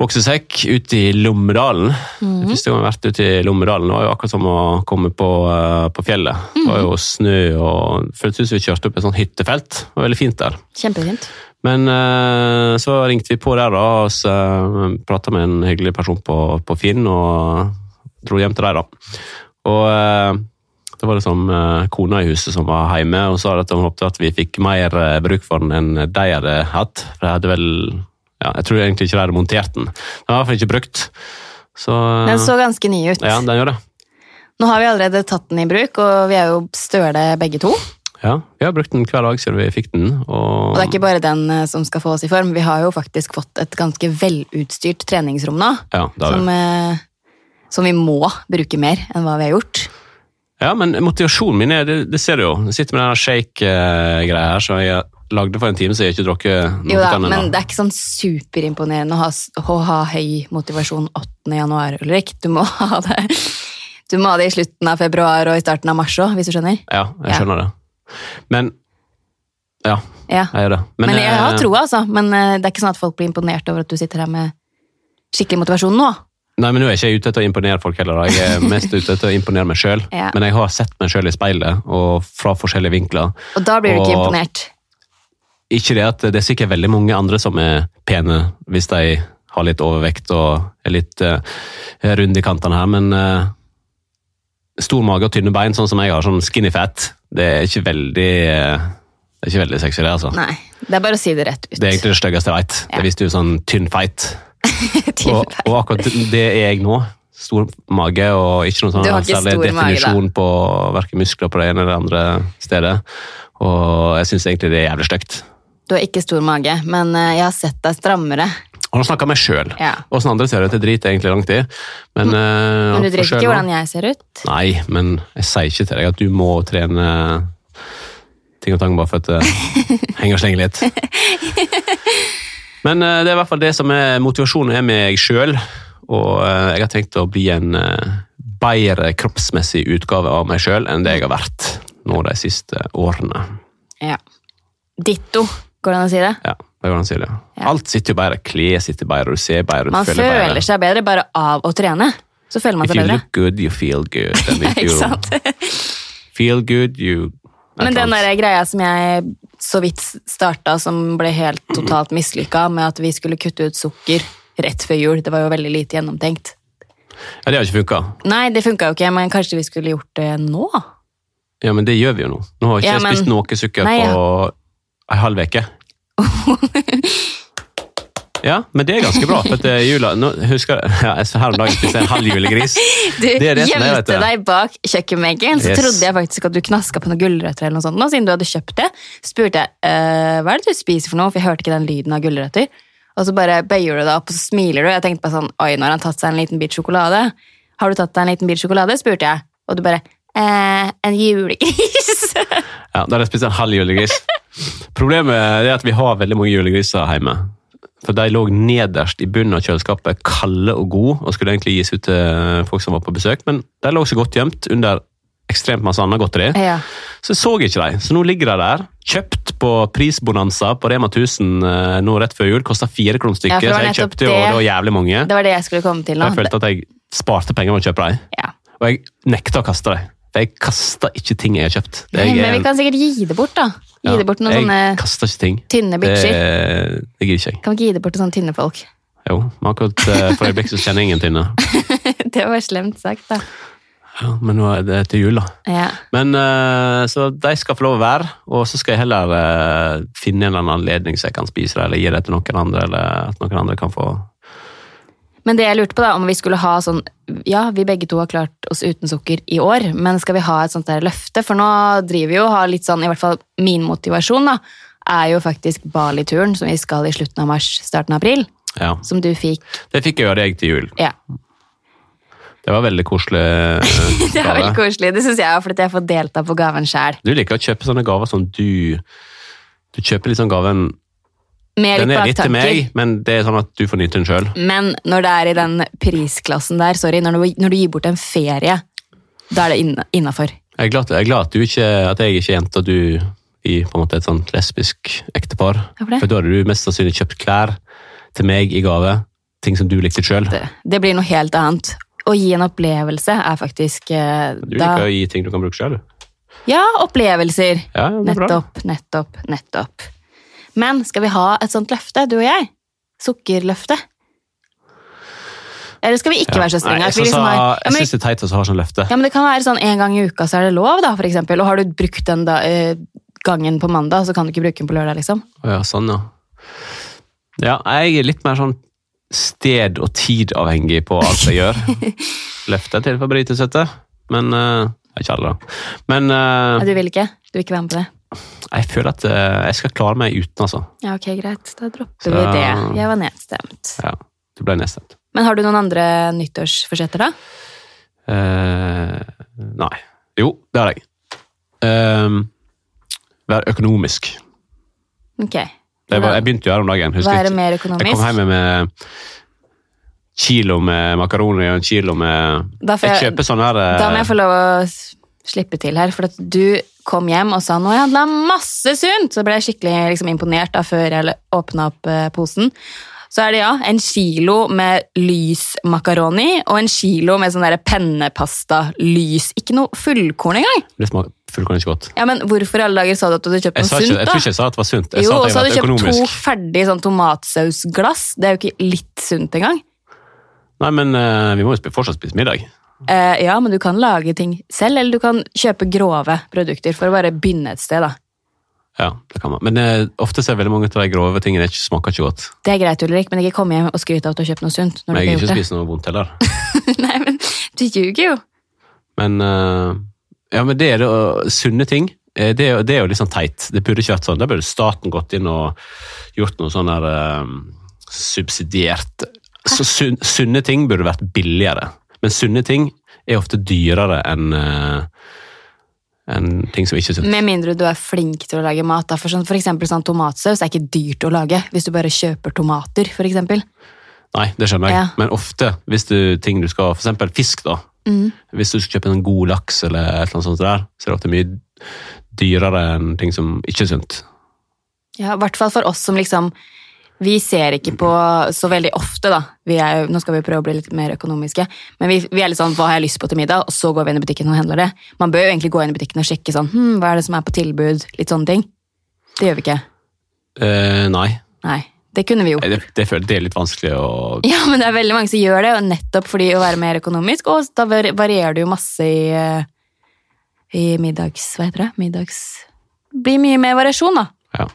Speaker 2: boksesekk ute i Lommedalen. Det Første gang jeg har vært ute i Lommedalen, det var jo akkurat som å komme på, eh, på fjellet. Det var jo snø og det føltes ut som vi kjørte opp et sånt hyttefelt. Det var veldig fint der.
Speaker 1: Kjempefint.
Speaker 2: Men eh, så ringte vi på der da, og så eh, pratet med en hyggelig person på, på Finn, og dro hjem til deg da. Og eh, Det var liksom eh, kona i huset som var hjemme og sa at hun håpte at vi fikk mer eh, bruk for den enn de hadde hatt. For de hadde vel ja, Jeg tror egentlig ikke de hadde montert den. Den var i hvert fall ikke brukt. Så eh,
Speaker 1: Den så ganske ny ut.
Speaker 2: Ja, den gjør det.
Speaker 1: Nå har vi allerede tatt den i bruk, og vi er jo støle begge to.
Speaker 2: Ja, Vi har brukt den hver dag siden vi fikk den. Og,
Speaker 1: Og det er ikke bare den eh, som skal få oss i form, vi har jo faktisk fått et ganske velutstyrt treningsrom nå,
Speaker 2: ja, det har vi.
Speaker 1: som, eh, som vi må bruke mer enn hva vi har gjort.
Speaker 2: Ja, men motivasjonen min er, det, det ser du jo. Jeg sitter med denne shake-greia her, som jeg lagde for en time, så jeg har ikke drukket noe
Speaker 1: Jo da,
Speaker 2: annet
Speaker 1: men
Speaker 2: ennå.
Speaker 1: det er ikke sånn superimponerende å ha, s- å ha høy motivasjon 8. januar, Ulrik. Du må ha det. Du må ha det i slutten av februar og i starten av mars òg, hvis du skjønner.
Speaker 2: Ja, jeg
Speaker 1: Ja.
Speaker 2: skjønner det. Men Ja,
Speaker 1: Ja.
Speaker 2: jeg gjør det.
Speaker 1: Men, jeg har
Speaker 2: eh,
Speaker 1: troa, altså. Men eh, det er ikke sånn at folk blir imponert over at du sitter her med skikkelig motivasjon nå.
Speaker 2: Nei, men nå er jeg ikke ute etter å imponere folk heller. da. Jeg er mest ute etter å imponere meg sjøl.
Speaker 1: Ja.
Speaker 2: Men jeg har sett meg sjøl i speilet, og fra forskjellige vinkler.
Speaker 1: Og da blir du ikke
Speaker 2: Og-
Speaker 1: imponert.
Speaker 2: Ikke det at det er sikkert veldig mange andre som er pene, hvis de har litt overvekt og er litt uh, runde i kantene her, men eh, stor mage og tynne bein, sånn som jeg har, sånn skinny fat, det er ikke veldig eh, det er ikke veldig sexy, det, altså.
Speaker 1: Nei. Det er bare å si det rett ut.
Speaker 2: Det er egentlig det styggeste jeg veit. Det visste jo sånn tynn feit.
Speaker 1: Til
Speaker 2: Og,
Speaker 1: deg.
Speaker 2: og akkurat det er jeg nå. Stor mage og ikke noen
Speaker 1: Du har
Speaker 2: sånn
Speaker 1: ikke
Speaker 2: særlig
Speaker 1: stor mage, da.
Speaker 2: definisjon på verken muskler på det ene eller det andre stedet. Og jeg syns egentlig det er jævlig stygt.
Speaker 1: Du har ikke stor mage, men eh, jeg har sett deg strammere.
Speaker 2: Og nå snakker jeg meg sjøl.
Speaker 1: Ja. Mm.
Speaker 2: Åssen andre ser ut, det driter jeg egentlig langt i. Men, eh,
Speaker 1: Men du
Speaker 2: for
Speaker 1: driter
Speaker 2: selv
Speaker 1: ikke i
Speaker 2: nå-
Speaker 1: hvordan jeg ser ut.
Speaker 2: Nei, men jeg sier ikke til deg at du må trene ting og tang bare for at det henger og slenger litt. Men eh, det er i hvert fall det som er motivasjonen er meg sjøl. Og eh, jeg har tenkt å bli en eh, bedre kroppsmessig utgave av meg sjøl enn det jeg har vært nå de siste årene.
Speaker 1: Ja. Ditto, går det an å si det?
Speaker 2: Ja, det går an å si det. Alt sitter jo bedre. Klær sitter bedre, du ser bedre, du
Speaker 1: Man
Speaker 2: føler bedre.
Speaker 1: føler seg bedre bare av å trene. Så føler man
Speaker 2: If
Speaker 1: seg
Speaker 2: you
Speaker 1: bedre.
Speaker 2: look good, you feel good. And if
Speaker 1: Ikke
Speaker 2: you
Speaker 1: sant?
Speaker 2: feel good, you
Speaker 1: Men den der greia som jeg så vidt starta, som ble helt totalt mislykka, med at vi skulle kutte ut sukker rett før jul, det var jo veldig lite gjennomtenkt.
Speaker 2: Ja, det har ikke funka.
Speaker 1: Nei, det funka jo ikke, men kanskje vi skulle gjort det nå?
Speaker 2: Ja, men det gjør vi jo nå. Nå har ikke
Speaker 1: Ja,
Speaker 2: jeg
Speaker 1: men-
Speaker 2: spist noe sukker
Speaker 1: Nei, ja.
Speaker 2: på ei halv uke. Ja, men det er ganske bra, for at eh, jula nå, husker, jeg- ja, jeg- Her om dagen spiste jeg en halv julegris.
Speaker 1: Du
Speaker 2: Det er det som er, vet
Speaker 1: gjemte
Speaker 2: du.
Speaker 1: deg bak kjøkkenbenken, så
Speaker 2: Yes.
Speaker 1: trodde jeg faktisk at du knaska på noen gulrøtter, eller noe sånt, nå, siden du hadde kjøpt det. Spurte jeg «Eh, hva er det du spiser for noe, for jeg hørte ikke den lyden av gulrøtter. Og så bare bøyer du deg opp og så smiler du. Jeg tenkte bare sånn Oi, nå har han tatt seg en liten bit sjokolade. Har du tatt deg en liten bit sjokolade? spurte jeg. Og du bare eh, En julegris.
Speaker 2: Ja, Da hadde jeg spist en halv julegris. Problemet er at vi har veldig mange julegriser hjemme. For de lå nederst i bunnen av kjøleskapet, kalde og gode, og skulle egentlig gis ut til folk som var på besøk, men de lå så godt gjemt under ekstremt masse annet godteri.
Speaker 1: ja.
Speaker 2: Så jeg så ikke de, så nå ligger de der. Kjøpt på prisbonanza på Rema 1000 eh, nå rett før jul. Kosta fire kroner
Speaker 1: Ja, for
Speaker 2: stykket,
Speaker 1: det var
Speaker 2: så jeg
Speaker 1: nettopp
Speaker 2: kjøpte jo
Speaker 1: det.
Speaker 2: det var jævlig mange.
Speaker 1: Det var det jeg skulle komme til
Speaker 2: Og
Speaker 1: nå.
Speaker 2: jeg følte at jeg sparte penger med å kjøpe dem.
Speaker 1: Ja.
Speaker 2: Og jeg nekta å kaste dem. For jeg kaster ikke ting jeg har kjøpt. Det er jeg, eh,
Speaker 1: Men vi kan sikkert gi det bort, da. Gi
Speaker 2: ja,
Speaker 1: det bort til noen
Speaker 2: Jeg
Speaker 1: sånne
Speaker 2: kaster ikke ting.
Speaker 1: tynne
Speaker 2: Det,
Speaker 1: bitcher.
Speaker 2: det gidder ikke jeg.
Speaker 1: Kan vi ikke gi det bort til sånne tynne folk?
Speaker 2: Jo, men akkurat eh, for øyeblikket så kjenner jeg ingen tynne.
Speaker 1: det var slemt sagt, da.
Speaker 2: Ja, men nå er det til jul, da.
Speaker 1: Ja.
Speaker 2: Men eh, Så de skal få lov å være, og så skal jeg heller eh, finne en eller annen anledning så jeg kan spise det, eller gi det til noen andre, eller at noen andre kan få
Speaker 1: Men det jeg lurte på da, om vi skulle ha sånn Ja, vi begge to har klart oss uten sukker i år, men skal vi ha et sånt der løfte? For nå driver vi jo og har litt sånn, i hvert fall min motivasjon, da, er jo faktisk Bali-turen som vi skal i slutten av mars, starten av april.
Speaker 2: Ja.
Speaker 1: Som du fikk.
Speaker 2: Det fikk jeg jo av deg til jul.
Speaker 1: Ja.
Speaker 2: Det var veldig koselig. eh,
Speaker 1: Det er veldig
Speaker 2: gave.
Speaker 1: koselig. Det syns jeg òg, for at jeg får delta på gaven sjæl.
Speaker 2: Du liker å kjøpe sånne gaver som du Du kjøper liksom gaven
Speaker 1: Med
Speaker 2: Den
Speaker 1: litt
Speaker 2: er litt til
Speaker 1: baktanker.
Speaker 2: meg, men det er sånn at du får nyte den sjøl.
Speaker 1: Men når det er i den prisklassen der, sorry, når du, når du gir bort en ferie, da er det innafor.
Speaker 2: Jeg er glad, jeg er glad at, du ikke, at jeg ikke er jente, og du i på en måte et sånt lesbisk ektepar.
Speaker 1: Hvorfor det?
Speaker 2: For da hadde du mest sannsynlig kjøpt klær til meg i gave. Ting som du likte sjøl.
Speaker 1: det. Det blir noe helt annet. Å gi en opplevelse er faktisk eh,
Speaker 2: Du
Speaker 1: da
Speaker 2: liker å gi ting du kan bruke sjøl, du.
Speaker 1: Ja, opplevelser.
Speaker 2: Ja, det er bra.
Speaker 1: Nettopp, nettopp, nettopp. Men skal vi ha et sånt løfte, du og jeg? Sukkerløfte. Eller skal vi ikke være så strenge?
Speaker 2: Nei,
Speaker 1: At vi
Speaker 2: jeg
Speaker 1: liksom
Speaker 2: sa-
Speaker 1: har- Ja,
Speaker 2: jeg
Speaker 1: men-
Speaker 2: syns det er teit å ha sånn løfte.
Speaker 1: Ja, men det kan være sånn en gang i uka så er det lov, da, for eksempel. Og har du brukt den da, eh, gangen på mandag, så kan du ikke bruke den på lørdag, liksom.
Speaker 2: Å Ja, sånn, ja. Ja, jeg er litt mer sånn sted- og tidavhengig på alt jeg gjør. Løfter til forbrytelsesstøtte, men eh, jeg er ikke alle, da. Men eh,
Speaker 1: Nei, du vil ikke? Du vil ikke være med på det?
Speaker 2: jeg føler at eh, jeg skal klare meg uten, altså.
Speaker 1: Ja, ok, greit. Da dropper
Speaker 2: Så-
Speaker 1: vi det. Jeg var nedstemt.
Speaker 2: Ja, det ble nedstemt.
Speaker 1: Men har du noen andre nyttårsforsetter, da?
Speaker 2: Eh, nei. Jo, det har jeg. Ehm, Vær økonomisk.
Speaker 1: Ok.
Speaker 2: Det var, jeg begynte jo her om dagen. husker
Speaker 1: Være
Speaker 2: ikke.
Speaker 1: mer
Speaker 2: Jeg kom
Speaker 1: økonomisk.
Speaker 2: hjem med kilo med makaroni og en kilo med
Speaker 1: Da får
Speaker 2: Jeg
Speaker 1: jeg-
Speaker 2: kjøper sånn her eh,
Speaker 1: Da må jeg få lov å s- slippe til her, for at du kom hjem og sa nå har jeg handla masse sunt, så ble jeg skikkelig liksom, imponert da før jeg åpna opp eh, posen. Så er det ja, en kilo med lys makaroni og en kilo med sånn der pennepasta lys. Ikke noe fullkorn engang!
Speaker 2: Det smaker eh, fullkorn ikke godt.
Speaker 1: Ja, men Hvorfor i alle dager sa du at du hadde kjøpt noe
Speaker 2: Jeg, sa ikke,
Speaker 1: sunt,
Speaker 2: jeg
Speaker 1: da?
Speaker 2: tror ikke jeg sa at det var sunt. Jeg
Speaker 1: jo,
Speaker 2: sa
Speaker 1: og
Speaker 2: at jeg
Speaker 1: så hadde
Speaker 2: var
Speaker 1: du kjøpt to
Speaker 2: økonomisk.
Speaker 1: ferdige sånn tomatsausglass. Det er jo ikke litt sunt engang.
Speaker 2: Nei, men eh, vi må jo spi- fortsatt spise middag.
Speaker 1: Eh, ja, men du kan lage ting selv, eller du kan kjøpe grove produkter for å bare begynne et sted, da.
Speaker 2: Ja, det kan man. Men eh, ofte ser jeg veldig mange av de grove tingene ikke smaker ikke godt.
Speaker 1: Det er greit, Ulrik, men ikke kom hjem og skryt av at du har kjøpt noe sunt. Når
Speaker 2: Men
Speaker 1: du
Speaker 2: jeg har
Speaker 1: ikke har
Speaker 2: ikke
Speaker 1: gjort
Speaker 2: spist noe vondt heller.
Speaker 1: det. Nei, men du ljuger jo.
Speaker 2: Men eh, ja, men det er det å- sunne ting. eh, Det er, jo- det er jo litt sånn teit. Det burde ikke vært sånn. Da burde staten gått inn og gjort noe sånn der eh, subsidiert Så sun, sunne ting burde vært billigere. Men sunne ting er ofte dyrere enn eh, enn ting som ikke er sunt.
Speaker 1: Med mindre du er flink til å lage mat. Da. For, sånn, for eksempel sånn tomatsaus er ikke dyrt å lage hvis du bare kjøper tomater, for eksempel.
Speaker 2: Nei, det skjønner jeg.
Speaker 1: Ja.
Speaker 2: Men ofte, hvis du ting du skal For eksempel fisk, da.
Speaker 1: Mm.
Speaker 2: Hvis du skal kjøpe en god laks eller et eller annet sånt der, så er det ofte mye dyrere enn ting som ikke er sunt.
Speaker 1: Ja, I hvert fall for oss som liksom Vi ser ikke på så veldig ofte, da. Vi er, jo- nå skal vi prøve å bli litt mer økonomiske. Men vi, vi er litt sånn Hva har jeg lyst på til middag? Og så går vi inn i butikken og handler det. Man bør jo egentlig gå inn i butikken og sjekke sånn hm, Hva er det som er på tilbud? Litt sånne ting. Det gjør vi ikke.
Speaker 2: Eh, nei.
Speaker 1: Nei. Det kunne vi gjort.
Speaker 2: Nei, Det, det, føler, det er litt vanskelig å
Speaker 1: Ja, men det er veldig mange som gjør det, og nettopp fordi å være mer økonomisk, og da var- varierer det jo masse i, eh, i middags... Hva heter det? Middags... Blir mye mer variasjon, da.
Speaker 2: Ja,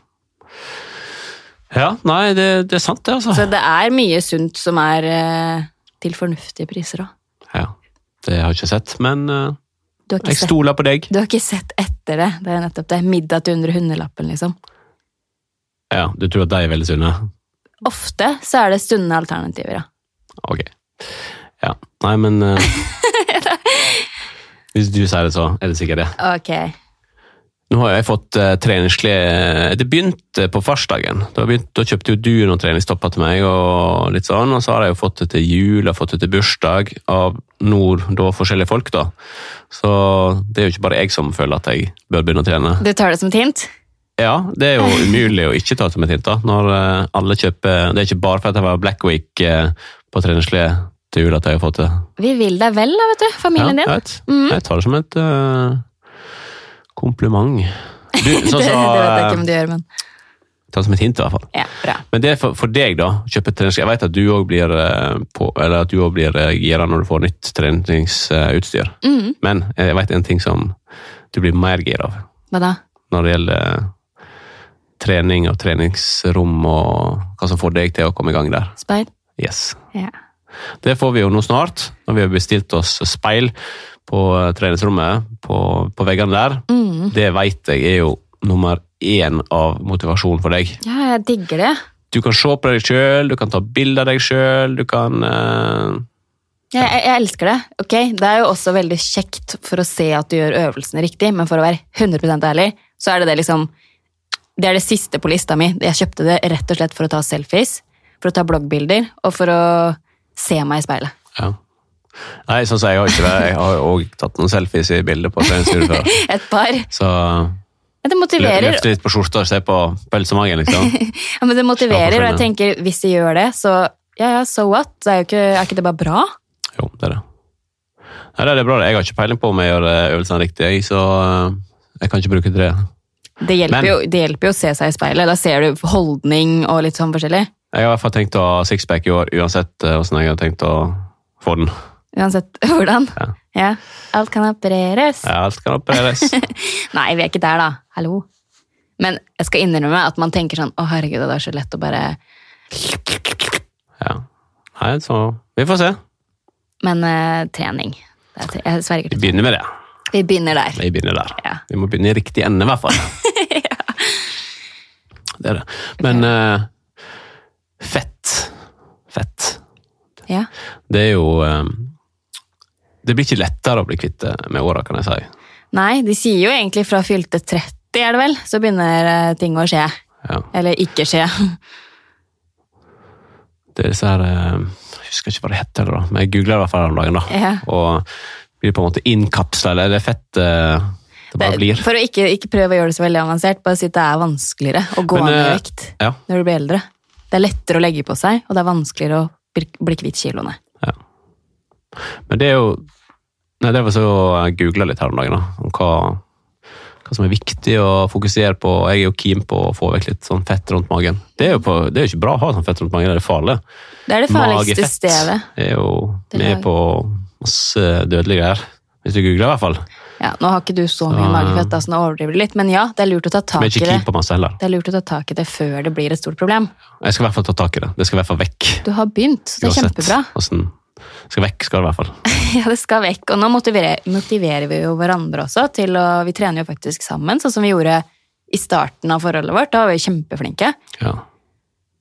Speaker 2: ja nei, det, det er sant, det, altså.
Speaker 1: Så det er mye sunt som er eh, til fornuftige priser òg.
Speaker 2: Ja, det har jeg ikke sett, men eh,
Speaker 1: Du, har ikke
Speaker 2: jeg
Speaker 1: sett-
Speaker 2: stoler på deg.
Speaker 1: du har ikke sett etter det. Det er nettopp det. Middag til under hundrelappen, liksom.
Speaker 2: Ja, Du tror at de er veldig sunne?
Speaker 1: Ofte så er det sunne alternativer, ja.
Speaker 2: Ok. Ja. Nei, men eh, Hvis du sier det, så er det sikkert det.
Speaker 1: Ok.
Speaker 2: Nå har jeg fått uh, treningsklær Det begynte på farsdagen. Da, begynte, da kjøpte jo du noen treningstopper til meg, og litt sånn, og så har jeg jo fått det til jul og fått det til bursdag av nord, da forskjellige folk. da. Så det er jo ikke bare jeg som føler at jeg bør begynne å trene.
Speaker 1: Du tar det som et hint?
Speaker 2: Ja, Det er jo umulig å ikke ta som et hint. da, når eh, alle kjøper, Det er ikke bare fordi jeg var Black Week eh, på treningsklær til jul at jeg har fått det.
Speaker 1: Vi vil deg vel, da, vet du.
Speaker 2: Ja,
Speaker 1: Familien
Speaker 2: jeg,
Speaker 1: din. Mm.
Speaker 2: vet. jeg tar det som et eh, kompliment. Du, sånn
Speaker 1: det, det
Speaker 2: så,
Speaker 1: vet jeg
Speaker 2: eh,
Speaker 1: ikke om du gjør, men
Speaker 2: Ta det som et hint, i hvert fall.
Speaker 1: Ja, bra.
Speaker 2: Men det er for, for deg, da. Kjøpe treningsklær. Jeg vet at du òg blir, eh, på- eller at du også blir eh, gira når du får nytt treningsutstyr.
Speaker 1: Mhm.
Speaker 2: Men jeg vet en ting som du blir mer gira av
Speaker 1: Hva da?
Speaker 2: når det gjelder eh, trening og treningsrom og hva som får deg til å komme i gang der.
Speaker 1: Speid?
Speaker 2: Yes.
Speaker 1: Ja.
Speaker 2: Det får vi jo nå snart, når vi har bestilt oss speil på eh, treningsrommet, på, på veggene der.
Speaker 1: Mm.
Speaker 2: Det vet jeg er jo nummer én av motivasjon for deg.
Speaker 1: Ja, jeg digger det.
Speaker 2: du kan se på deg sjøl, du kan ta bilde av deg sjøl, du kan eh,
Speaker 1: Jeg, jeg, jeg elsker det. ok? Det er jo også veldig kjekt for å se at du gjør øvelsene riktig, men for å være 100 ærlig, så er det det liksom Det er det siste på lista mi. Jeg kjøpte det rett og slett for å ta selfies, for å ta bloggbilder og for å se meg i speilet.
Speaker 2: ja. Nei, sånn som jeg har ikke det. Jeg har jo òg tatt noen selfies i bildet på treningsstudio før.
Speaker 1: Et par.
Speaker 2: Så
Speaker 1: Men Det
Speaker 2: lø-
Speaker 1: motiverer,
Speaker 2: løfte litt på skjorta og se på pølsemagen, liksom.
Speaker 1: ja, men det motiverer og jeg tenker hvis jeg gjør det, så ja, ja, so what? Det er, jo ikke, er ikke det bare bra?
Speaker 2: Jo, det er det. Nei, det er bra. det. Jeg har ikke peiling på om jeg gjør eh, øvelsene riktig, jeg, så eh, jeg kan ikke bruke det.
Speaker 1: Det hjelper,
Speaker 2: Men-
Speaker 1: jo, det hjelper jo å se seg i speilet. Da ser du holdning og litt sånn forskjellig.
Speaker 2: Jeg har i hvert fall tenkt å ha sixpack i år, uansett eh, hvordan jeg har tenkt å popkorn.
Speaker 1: Uansett hvordan.
Speaker 2: Ja.
Speaker 1: Ja. Alt kan opereres.
Speaker 2: Ja, alt kan opereres.
Speaker 1: Nei, vi er ikke der, da. Hallo. Men jeg skal innrømme at man tenker sånn Å, herregud, det er så lett å bare
Speaker 2: Ja. Nei, så Vi får se.
Speaker 1: Men eh, trening. Det er tre... Jeg sverger
Speaker 2: Vi
Speaker 1: til
Speaker 2: begynner med det.
Speaker 1: Vi begynner der.
Speaker 2: Vi begynner der.
Speaker 1: Ja.
Speaker 2: Vi må begynne i riktig ende, i hvert fall. Det er det. Men eh, fett Fett.
Speaker 1: Ja.
Speaker 2: Det er jo eh, Det blir ikke lettere å bli kvitt det med åra, kan jeg si.
Speaker 1: Nei, de sier jo egentlig fra fylte 30, er det vel, så begynner eh, ting å skje.
Speaker 2: Ja.
Speaker 1: Eller ikke skje.
Speaker 2: Det er disse her eh, Jeg husker ikke hva det heter, da, men jeg googla det i hvert fall her om dagen. da.
Speaker 1: Ja.
Speaker 2: Og blir på en måte innkapsla, eller det er fett eh, det bare blir.
Speaker 1: For å ikke, ikke prøve å gjøre det så veldig avansert, bare si at det er vanskeligere å gå
Speaker 2: Men,
Speaker 1: ned i
Speaker 2: eh,
Speaker 1: vekt
Speaker 2: Ja.
Speaker 1: når du blir eldre. Det er lettere å legge på seg, og det er vanskeligere å bli, bli kvitt kiloene.
Speaker 2: Men det er jo Nei, det var så jeg googla litt her om dagen, da. Om hva, hva som er viktig å fokusere på. Jeg er jo keen på å få vekk litt sånn fett rundt magen. Det er jo, på, det er jo ikke bra å ha sånn fett rundt magen, det er farlig.
Speaker 1: Det er det farligste
Speaker 2: Magefett
Speaker 1: stedet.
Speaker 2: er jo
Speaker 1: Det er
Speaker 2: med
Speaker 1: mag-
Speaker 2: på masse dødelige greier. Hvis du googler, i hvert fall.
Speaker 1: Ja, nå har ikke du så mye
Speaker 2: Så-
Speaker 1: magefett, da, så nå overdriver du litt, men ja, det er lurt å ta
Speaker 2: Vi
Speaker 1: tak
Speaker 2: er
Speaker 1: i
Speaker 2: Ah. ikke
Speaker 1: det.
Speaker 2: keen på masse heller.
Speaker 1: Det er lurt å ta tak i det før det blir et stort problem.
Speaker 2: Jeg skal i hvert fall ta tak i det. Det skal i hvert fall vekk.
Speaker 1: Du har begynt, så det er kjempebra.
Speaker 2: hvordan Skal vekk, skal det i hvert fall.
Speaker 1: Ja, det skal vekk. Og nå motiverer, motiverer vi jo hverandre også til å Vi trener jo faktisk sammen, sånn som vi gjorde i starten av forholdet vårt. Da var vi kjempeflinke.
Speaker 2: Ja.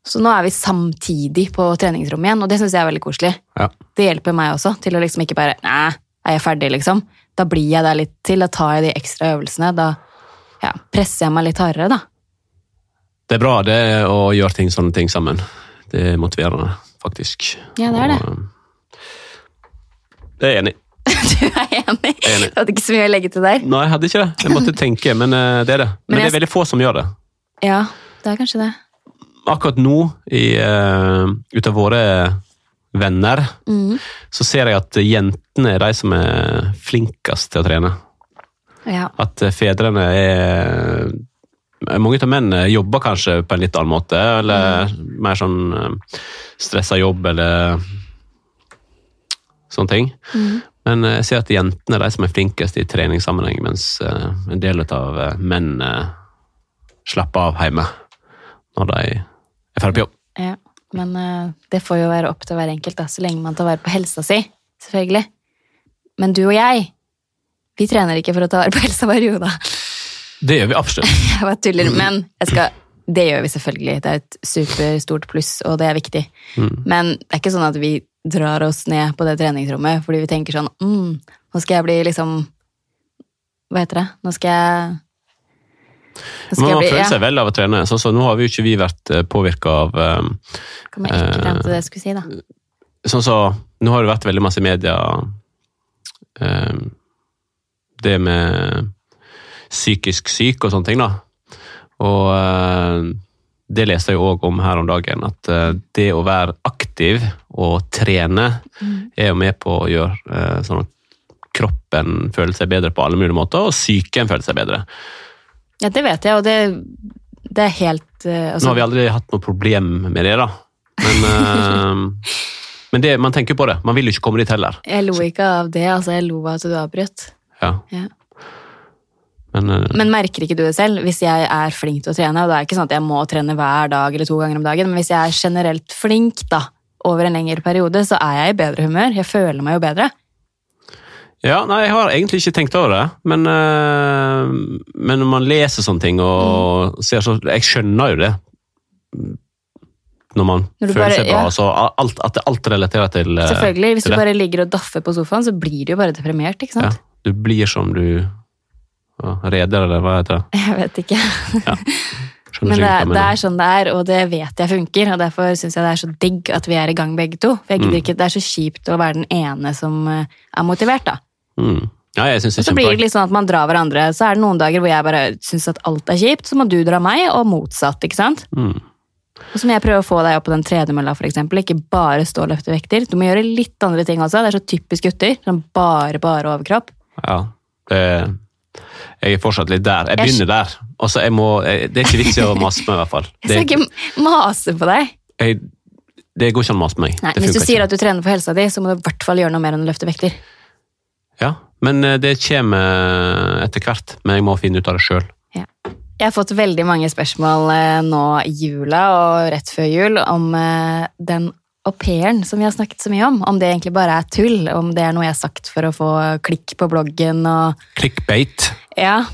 Speaker 1: Så nå er vi samtidig på treningsrommet igjen, og det syns jeg er veldig koselig.
Speaker 2: ja.
Speaker 1: Det hjelper meg også til å liksom ikke bare Nei, er jeg ferdig, liksom? Da blir jeg der litt til. Da tar jeg de ekstra øvelsene. Da ja, presser jeg meg litt hardere, da.
Speaker 2: Det er bra det å gjøre ting, sånne ting sammen. Det er motiverende, faktisk.
Speaker 1: Ja, det er det.
Speaker 2: Og, um, det er jeg enig i.
Speaker 1: Du er enig?
Speaker 2: Enig.
Speaker 1: Du hadde ikke så mye å legge til der?
Speaker 2: Nei, jeg hadde ikke det. Jeg måtte tenke, men eh, det er det. Men,
Speaker 1: Men jeg-
Speaker 2: det er veldig få som gjør det.
Speaker 1: Ja, det er kanskje det.
Speaker 2: Akkurat nå, i, eh, ut av våre venner,
Speaker 1: Mhm.
Speaker 2: så ser jeg at jentene er de som er flinkest til å trene.
Speaker 1: Ja.
Speaker 2: At eh, fedrene er Mange av mennene jobber kanskje på en litt annen måte, eller mer sånn eh, stressa jobb eller sånne ting. Men eh, jeg ser at jentene er de som er flinkest i treningssammenheng, mens eh, en del av eh, mennene slapper av hjemme når de er ferdig på jobb.
Speaker 1: Ja, men eh, det får jo være opp til hver enkelt, da, så lenge man tar vare på helsa si. Selvfølgelig. Men du og jeg, vi trener ikke for å ta vare på helsa vår, jo da.
Speaker 2: Det gjør vi absolutt.
Speaker 1: Jeg bare tuller, men jeg skal, det gjør vi selvfølgelig. Det er et superstort pluss, og det er viktig.
Speaker 2: Mm.
Speaker 1: Men det er ikke sånn at vi drar oss ned på det treningsrommet fordi vi tenker sånn mm, Nå skal jeg bli liksom Hva heter det? Nå skal jeg Nå
Speaker 2: Men man
Speaker 1: ja,
Speaker 2: føler seg vel av å trene. Sånn som nå har vi jo ikke vi vært påvirka av eh,
Speaker 1: Kan man ikke frem til det jeg skulle si, da?
Speaker 2: sånn så, Nå har det vært veldig masse i media eh, Det med psykisk syk og sånne ting, da. Og eh, det leste jeg jo òg om her om dagen, at eh, det å være aktiv og trene er jo med på å gjøre eh, sånn at kroppen føler seg bedre på alle mulige måter, og psyken føler seg bedre.
Speaker 1: Ja, det vet jeg, og det, det er helt eh, altså,
Speaker 2: Nå har vi aldri hatt noe problem med det, da. Men, eh, men det, man tenker på det. Man vil jo ikke komme dit heller.
Speaker 1: Jeg lo ikke av det, altså jeg lo av at du avbrøt.
Speaker 2: Ja,
Speaker 1: Ja.
Speaker 2: men... eh,
Speaker 1: Men merker ikke du det selv? Hvis jeg er flink til å trene, og det er ikke sånn at jeg må trene hver dag eller to ganger om dagen, men hvis jeg er generelt flink da, over en lengre periode, så er jeg i bedre humør. Jeg føler meg jo bedre.
Speaker 2: Ja, nei, jeg har egentlig ikke tenkt over det, men, eh, men når man leser sånne ting
Speaker 1: Mm.
Speaker 2: og ser så Jeg skjønner jo det. Når man
Speaker 1: Når du
Speaker 2: føler
Speaker 1: bare-
Speaker 2: seg bra,
Speaker 1: ja.
Speaker 2: så alt, at det alt relaterer til eh,
Speaker 1: Selvfølgelig, Hvis
Speaker 2: til
Speaker 1: du
Speaker 2: det.
Speaker 1: bare ligger og daffer på sofaen, så blir du jo bare deprimert, ikke
Speaker 2: ja,
Speaker 1: sant?
Speaker 2: Du blir som du ja, Reder, eller hva heter det?
Speaker 1: Jeg vet ikke.
Speaker 2: Skjønner
Speaker 1: Men det,
Speaker 2: ikke hva
Speaker 1: er-
Speaker 2: jeg
Speaker 1: det
Speaker 2: mener.
Speaker 1: er sånn det er, og det vet jeg funker. Og derfor syns jeg det er så digg at vi er i gang begge to. For jeg
Speaker 2: Mm.
Speaker 1: gidder ikke, Det er så kjipt å være den ene som eh, er motivert, da.
Speaker 2: Mm. Ja, jeg syns det
Speaker 1: Og
Speaker 2: er
Speaker 1: så blir det
Speaker 2: kjempepoeng.
Speaker 1: litt sånn at man drar hverandre. Så er det noen dager hvor jeg bare syns at alt er kjipt, så må du dra meg, og motsatt. ikke sant?
Speaker 2: Mm.
Speaker 1: Og så må jeg prøve å få deg opp på den tredemølla, for eksempel. Ikke bare stå og løfte vekter. Du må gjøre litt andre ting også. Det er så typisk gutter. Sånn bare, bare overkropp.
Speaker 2: Ja, det, jeg er fortsatt litt der.
Speaker 1: Jeg
Speaker 2: Jeg
Speaker 1: skj-
Speaker 2: begynner der. Og så jeg må, jeg, det er ikke vits i å mase med, i hvert fall.
Speaker 1: Jeg skal
Speaker 2: Det-
Speaker 1: ikke mase på deg.
Speaker 2: jeg, det går ikke an å mase på meg.
Speaker 1: Nei,
Speaker 2: det
Speaker 1: Hvis du
Speaker 2: funker
Speaker 1: sier
Speaker 2: ikke.
Speaker 1: at du trener for helsa di, så må du i hvert fall gjøre noe mer enn å løfte vekter.
Speaker 2: Ja, men eh, det kommer eh, etter hvert. Men jeg må finne ut av det sjøl.
Speaker 1: Jeg har fått veldig mange spørsmål eh, nå i jula og rett før jul om eh, den au pairen som vi har snakket så mye om. Om det egentlig bare er tull, om det er noe jeg har sagt for å få klikk på bloggen og
Speaker 2: Clickbait.
Speaker 1: Ja.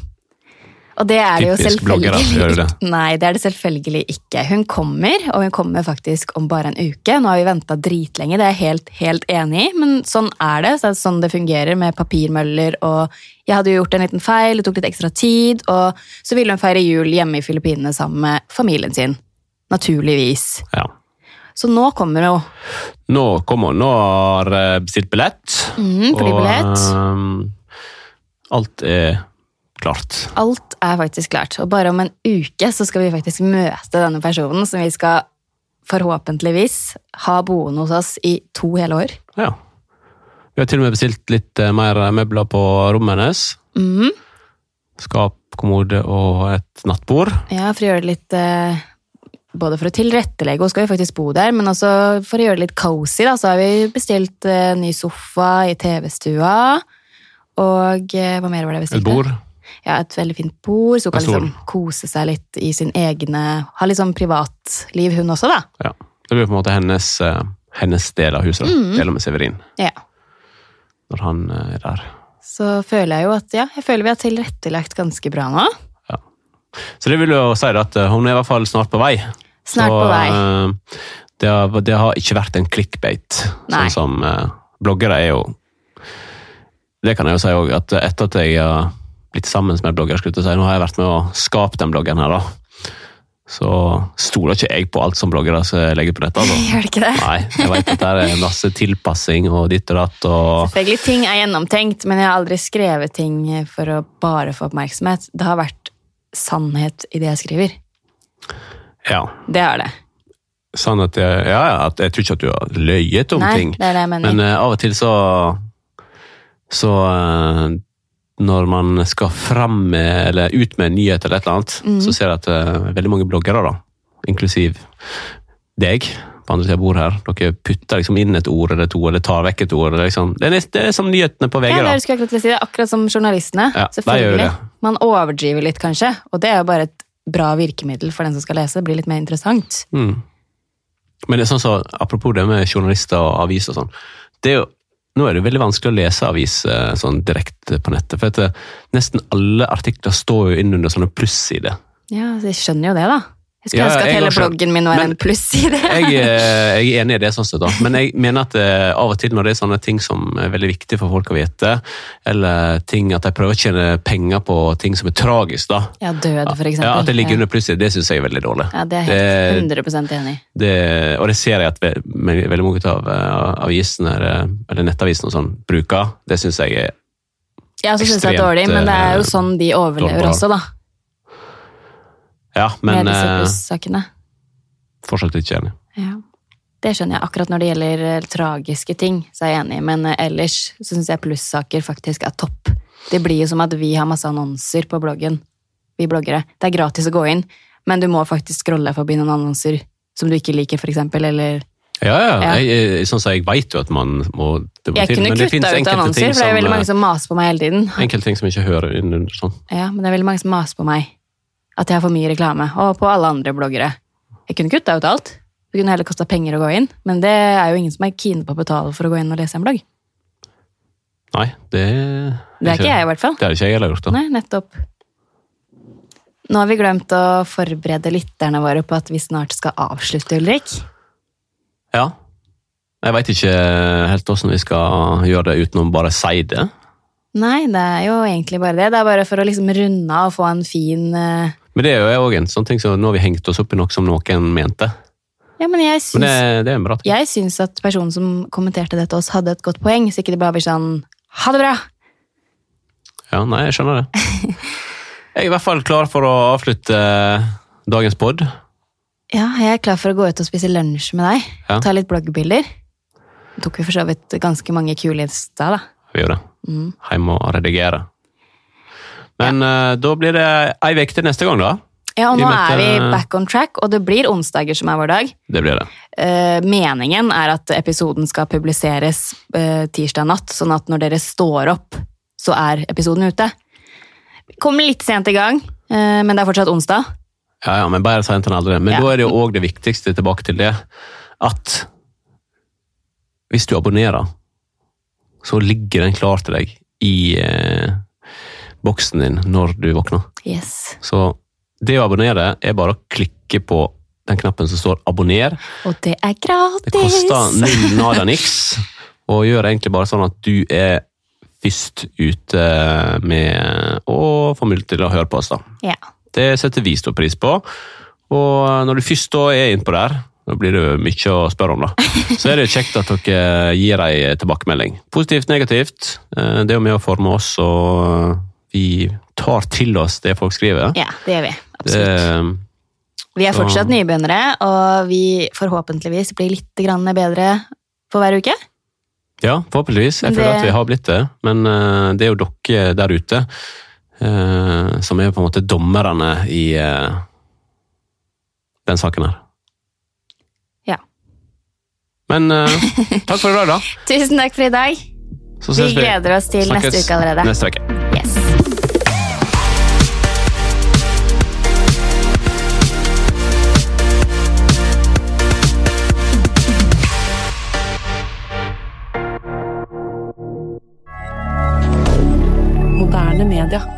Speaker 1: Og det er det jo
Speaker 2: Typisk bloggere
Speaker 1: selvfølgelig
Speaker 2: gjør det.
Speaker 1: ikke. Nei, det er det selvfølgelig ikke. Hun kommer, og hun kommer faktisk om bare en uke. Nå har vi venta dritlenge, det er jeg helt, helt enig i, men sånn er det. Så det er sånn det fungerer med papirmøller og Jeg hadde jo gjort en liten feil, det tok litt ekstra tid, og så ville hun feire jul hjemme i Filippinene sammen med familien sin. Naturligvis.
Speaker 2: Ja.
Speaker 1: Så nå kommer hun.
Speaker 2: Nå kommer hun. Nå har jeg bestilt billett.
Speaker 1: Mm, flybillett.
Speaker 2: ehm, alt er klart.
Speaker 1: Alt er faktisk klart, og bare om en uke så skal vi faktisk møte denne personen som vi skal forhåpentligvis ha boende hos oss i to hele år.
Speaker 2: Ja. Vi har til og med bestilt litt eh, mer møbler på rommet hennes.
Speaker 1: Mhm.
Speaker 2: Skap, kommode og et nattbord.
Speaker 1: Ja, for å gjøre det litt eh, Både for å tilrettelegge, hun skal jo faktisk bo der, men også for å gjøre det litt cozy, da, så har vi bestilt eh, ny sofa i TV-stua. Og eh, hva mer var det jeg
Speaker 2: Et
Speaker 1: bestilte?
Speaker 2: bord.
Speaker 1: Ja, et veldig fint bord, så hun kan
Speaker 2: En stol.
Speaker 1: liksom kose seg litt i sin egne Ha litt sånn privatliv, hun også, da.
Speaker 2: Ja. Det blir på en måte hennes, eh, hennes del av huset. da. Deler med Severin
Speaker 1: Ja.
Speaker 2: når han eh, er der.
Speaker 1: så føler jeg jo at ja, jeg føler vi har tilrettelagt ganske bra nå.
Speaker 2: Så det vil jo si da at eh, hun er i hvert fall snart på vei.
Speaker 1: Snart
Speaker 2: Så,
Speaker 1: på vei.
Speaker 2: eh, Det har, det har ikke vært en clickbait,
Speaker 1: Nei.
Speaker 2: sånn som eh, bloggere er jo Det kan jeg jo si òg, at etter at jeg har blitt sammen med en blogger, skulle jeg til å si, nå har jeg vært med å skape den bloggen her, da. Så stoler ikke jeg på alt som bloggere som legger på nettet. Altså.
Speaker 1: Gjør det ikke det?
Speaker 2: Nei, jeg vet at det er masse tilpassing og ditt og datt og
Speaker 1: Selvfølgelig, ting er gjennomtenkt, men jeg har aldri skrevet ting for å bare få oppmerksomhet. Det har vært sannhet i det jeg skriver.
Speaker 2: Ja.
Speaker 1: Det har det.
Speaker 2: Sånn at jeg, ja, ja, at jeg tror ikke at du har løyet om
Speaker 1: Nei,
Speaker 2: ting.
Speaker 1: det er det jeg mener.
Speaker 2: Men eh, av og til så Så eh, når man skal fram med, eller ut med en nyhet eller et eller annet,
Speaker 1: Mm.
Speaker 2: så ser jeg at eh, veldig mange bloggere, da, inklusiv deg, på andre siden av bordet her, dere putter liksom inn et ord eller to, eller tar vekk et ord. Eller liksom. det, er, nest- det er som nyhetene på VG,
Speaker 1: ja, det
Speaker 2: da.
Speaker 1: skulle jeg akkurat til å si. Det er akkurat som journalistene.
Speaker 2: Ja, de gjør
Speaker 1: selvfølgelig.
Speaker 2: det.
Speaker 1: Man overdriver litt, kanskje, og det er jo bare et bra virkemiddel for den som skal lese. Det blir litt mer interessant.
Speaker 2: Mm. Men det er sånn så, apropos det med journalister og aviser og sånn. Det er jo, nå er det jo veldig vanskelig å lese avis eh, sånn direkte på nettet. For at eh, nesten alle artikler står jo innunder sånne plussider.
Speaker 1: Ja, så jeg skjønner jo det, da. Jeg skulle
Speaker 2: Ja,
Speaker 1: ønske at
Speaker 2: jeg
Speaker 1: hele
Speaker 2: også.
Speaker 1: bloggen min var
Speaker 2: Men-
Speaker 1: en pluss i det.
Speaker 2: jeg, eh, jeg er enig i det, sånn sett, da. men jeg mener at eh, av og til når det er sånne ting som er veldig viktig for folk å vite, eller ting at de prøver å tjene penger på ting som er tragisk, da.
Speaker 1: Ja, død, for eksempel.
Speaker 2: Ja, at det ligger
Speaker 1: Ja.
Speaker 2: under plusset, det syns jeg er veldig dårlig.
Speaker 1: Ja, det er jeg helt 100 enig i.
Speaker 2: det, og det ser jeg at ve med- veldig mange av eh, avisene, eller, eller nettavisene og sånn, bruker. Det syns jeg er
Speaker 1: Jeg også synes det er
Speaker 2: Ekstremt,
Speaker 1: dårlig, men det er jo
Speaker 2: eh,
Speaker 1: sånn de overlever
Speaker 2: dårlig.
Speaker 1: også, da.
Speaker 2: Ja,
Speaker 1: Med
Speaker 2: men
Speaker 1: disse
Speaker 2: eh,
Speaker 1: plussakene.
Speaker 2: fortsatt ikke enig.
Speaker 1: Ja. Det skjønner jeg. Akkurat når det gjelder eh, tragiske ting, så er jeg enig, men eh, ellers så syns jeg plussaker faktisk er topp. Det blir jo som at vi har masse annonser på bloggen, vi bloggere. Det er gratis å gå inn, men du må faktisk scrolle forbi noen annonser som du ikke liker, for eksempel, eller
Speaker 2: Ja, ja.
Speaker 1: Ja.
Speaker 2: Jeg, jeg, sånn som jeg veit jo at man må det må
Speaker 1: Jeg
Speaker 2: til,
Speaker 1: kunne
Speaker 2: men det
Speaker 1: kutta
Speaker 2: finnes
Speaker 1: ut
Speaker 2: enkelte
Speaker 1: annonser,
Speaker 2: ting
Speaker 1: for det er veldig
Speaker 2: som,
Speaker 1: mange som maser på meg hele tiden.
Speaker 2: eh, enkelte ting som ikke hører inn under sånn.
Speaker 1: Ja, men det er veldig mange som maser på meg. At jeg har for mye reklame. Og på alle andre bloggere. Jeg kunne kutta ut alt. Det kunne heller kosta penger å gå inn. Men det er jo ingen som er keen på å betale for å gå inn og lese en blogg.
Speaker 2: Nei, det
Speaker 1: Det er ikke jeg, i hvert fall.
Speaker 2: Det hadde ikke jeg heller gjort. da.
Speaker 1: Nei, nettopp. Nå har vi glemt å forberede lytterne våre på at vi snart skal avslutte, Ulrik.
Speaker 2: Ja. Jeg veit ikke helt hvordan vi skal gjøre det uten å bare si det.
Speaker 1: Nei, det er jo egentlig bare det. Det er bare for å liksom runde av og få en fin eh,
Speaker 2: Men det er jo òg en sånn ting som nå har vi hengt oss opp i noe som noen mente.
Speaker 1: Ja, men jeg
Speaker 2: Men
Speaker 1: syns
Speaker 2: det, det er en bra ting.
Speaker 1: Jeg syns at personen som kommenterte det til oss, hadde et godt poeng, så ikke det bare blir sånn Ha det bra!
Speaker 2: Ja, nei, jeg skjønner det. Jeg er i hvert fall klar for å avslutte eh, dagens pod.
Speaker 1: Ja, jeg er klar for å gå ut og spise lunsj med deg.
Speaker 2: Ja.
Speaker 1: Ta litt bloggbilder. Det tok vi for så vidt ganske mange kule i stad, da. Mm.
Speaker 2: Vi gjør det. Hjemme og redigere. Men eh, da blir det ei uke til neste gang, da.
Speaker 1: Ja, og
Speaker 2: Vi
Speaker 1: nå
Speaker 2: møtte-
Speaker 1: er vi back on track, og det blir onsdager som er vår dag.
Speaker 2: Det blir det.
Speaker 1: Eh, meningen er at episoden skal publiseres eh, tirsdag natt, sånn at når dere står opp, så er episoden ute. Vi Kommer litt sent i gang, eh, men det er fortsatt onsdag.
Speaker 2: Ja, ja, men bedre sent enn aldri. Men
Speaker 1: Ja.
Speaker 2: da er det jo òg det viktigste tilbake til det at hvis du abonnerer, så ligger den klar til deg i eh, boksen din når du våkner.
Speaker 1: Yes.
Speaker 2: Så det å abonnere er bare å klikke på den knappen som står 'abonner'.
Speaker 1: Og det er
Speaker 2: Det koster
Speaker 1: gratis!
Speaker 2: null nada niks, og gjør egentlig bare sånn at du er først ute med å få mulighet til å høre på oss, da.
Speaker 1: Ja.
Speaker 2: Det setter vi stor pris på. Og når du først da er innpå der, da blir det jo mye å spørre om, da. Så er det jo kjekt at dere gir ei tilbakemelding. Positivt, negativt. Eh, Det er jo med å forme oss, og vi tar til oss det folk skriver.
Speaker 1: ja, det gjør vi.
Speaker 2: Det,
Speaker 1: Absolutt. Vi er
Speaker 2: så-
Speaker 1: fortsatt nybegynnere, og vi forhåpentligvis blir litt grann bedre for hver uke.
Speaker 2: ja, forhåpentligvis. Jeg
Speaker 1: Men
Speaker 2: føler
Speaker 1: det-
Speaker 2: at vi har blitt det. Men eh, det er jo dere der ute eh, som er på en måte dommerne i eh, den saken her.
Speaker 1: Ja.
Speaker 2: Men eh, takk for i dag, da.
Speaker 1: Tusen takk for i dag.
Speaker 2: Så
Speaker 1: Vi
Speaker 2: ses
Speaker 1: gleder oss til neste
Speaker 2: Snakkes
Speaker 1: uke allerede.
Speaker 2: Neste uke.
Speaker 1: Yes.
Speaker 3: Moderne media.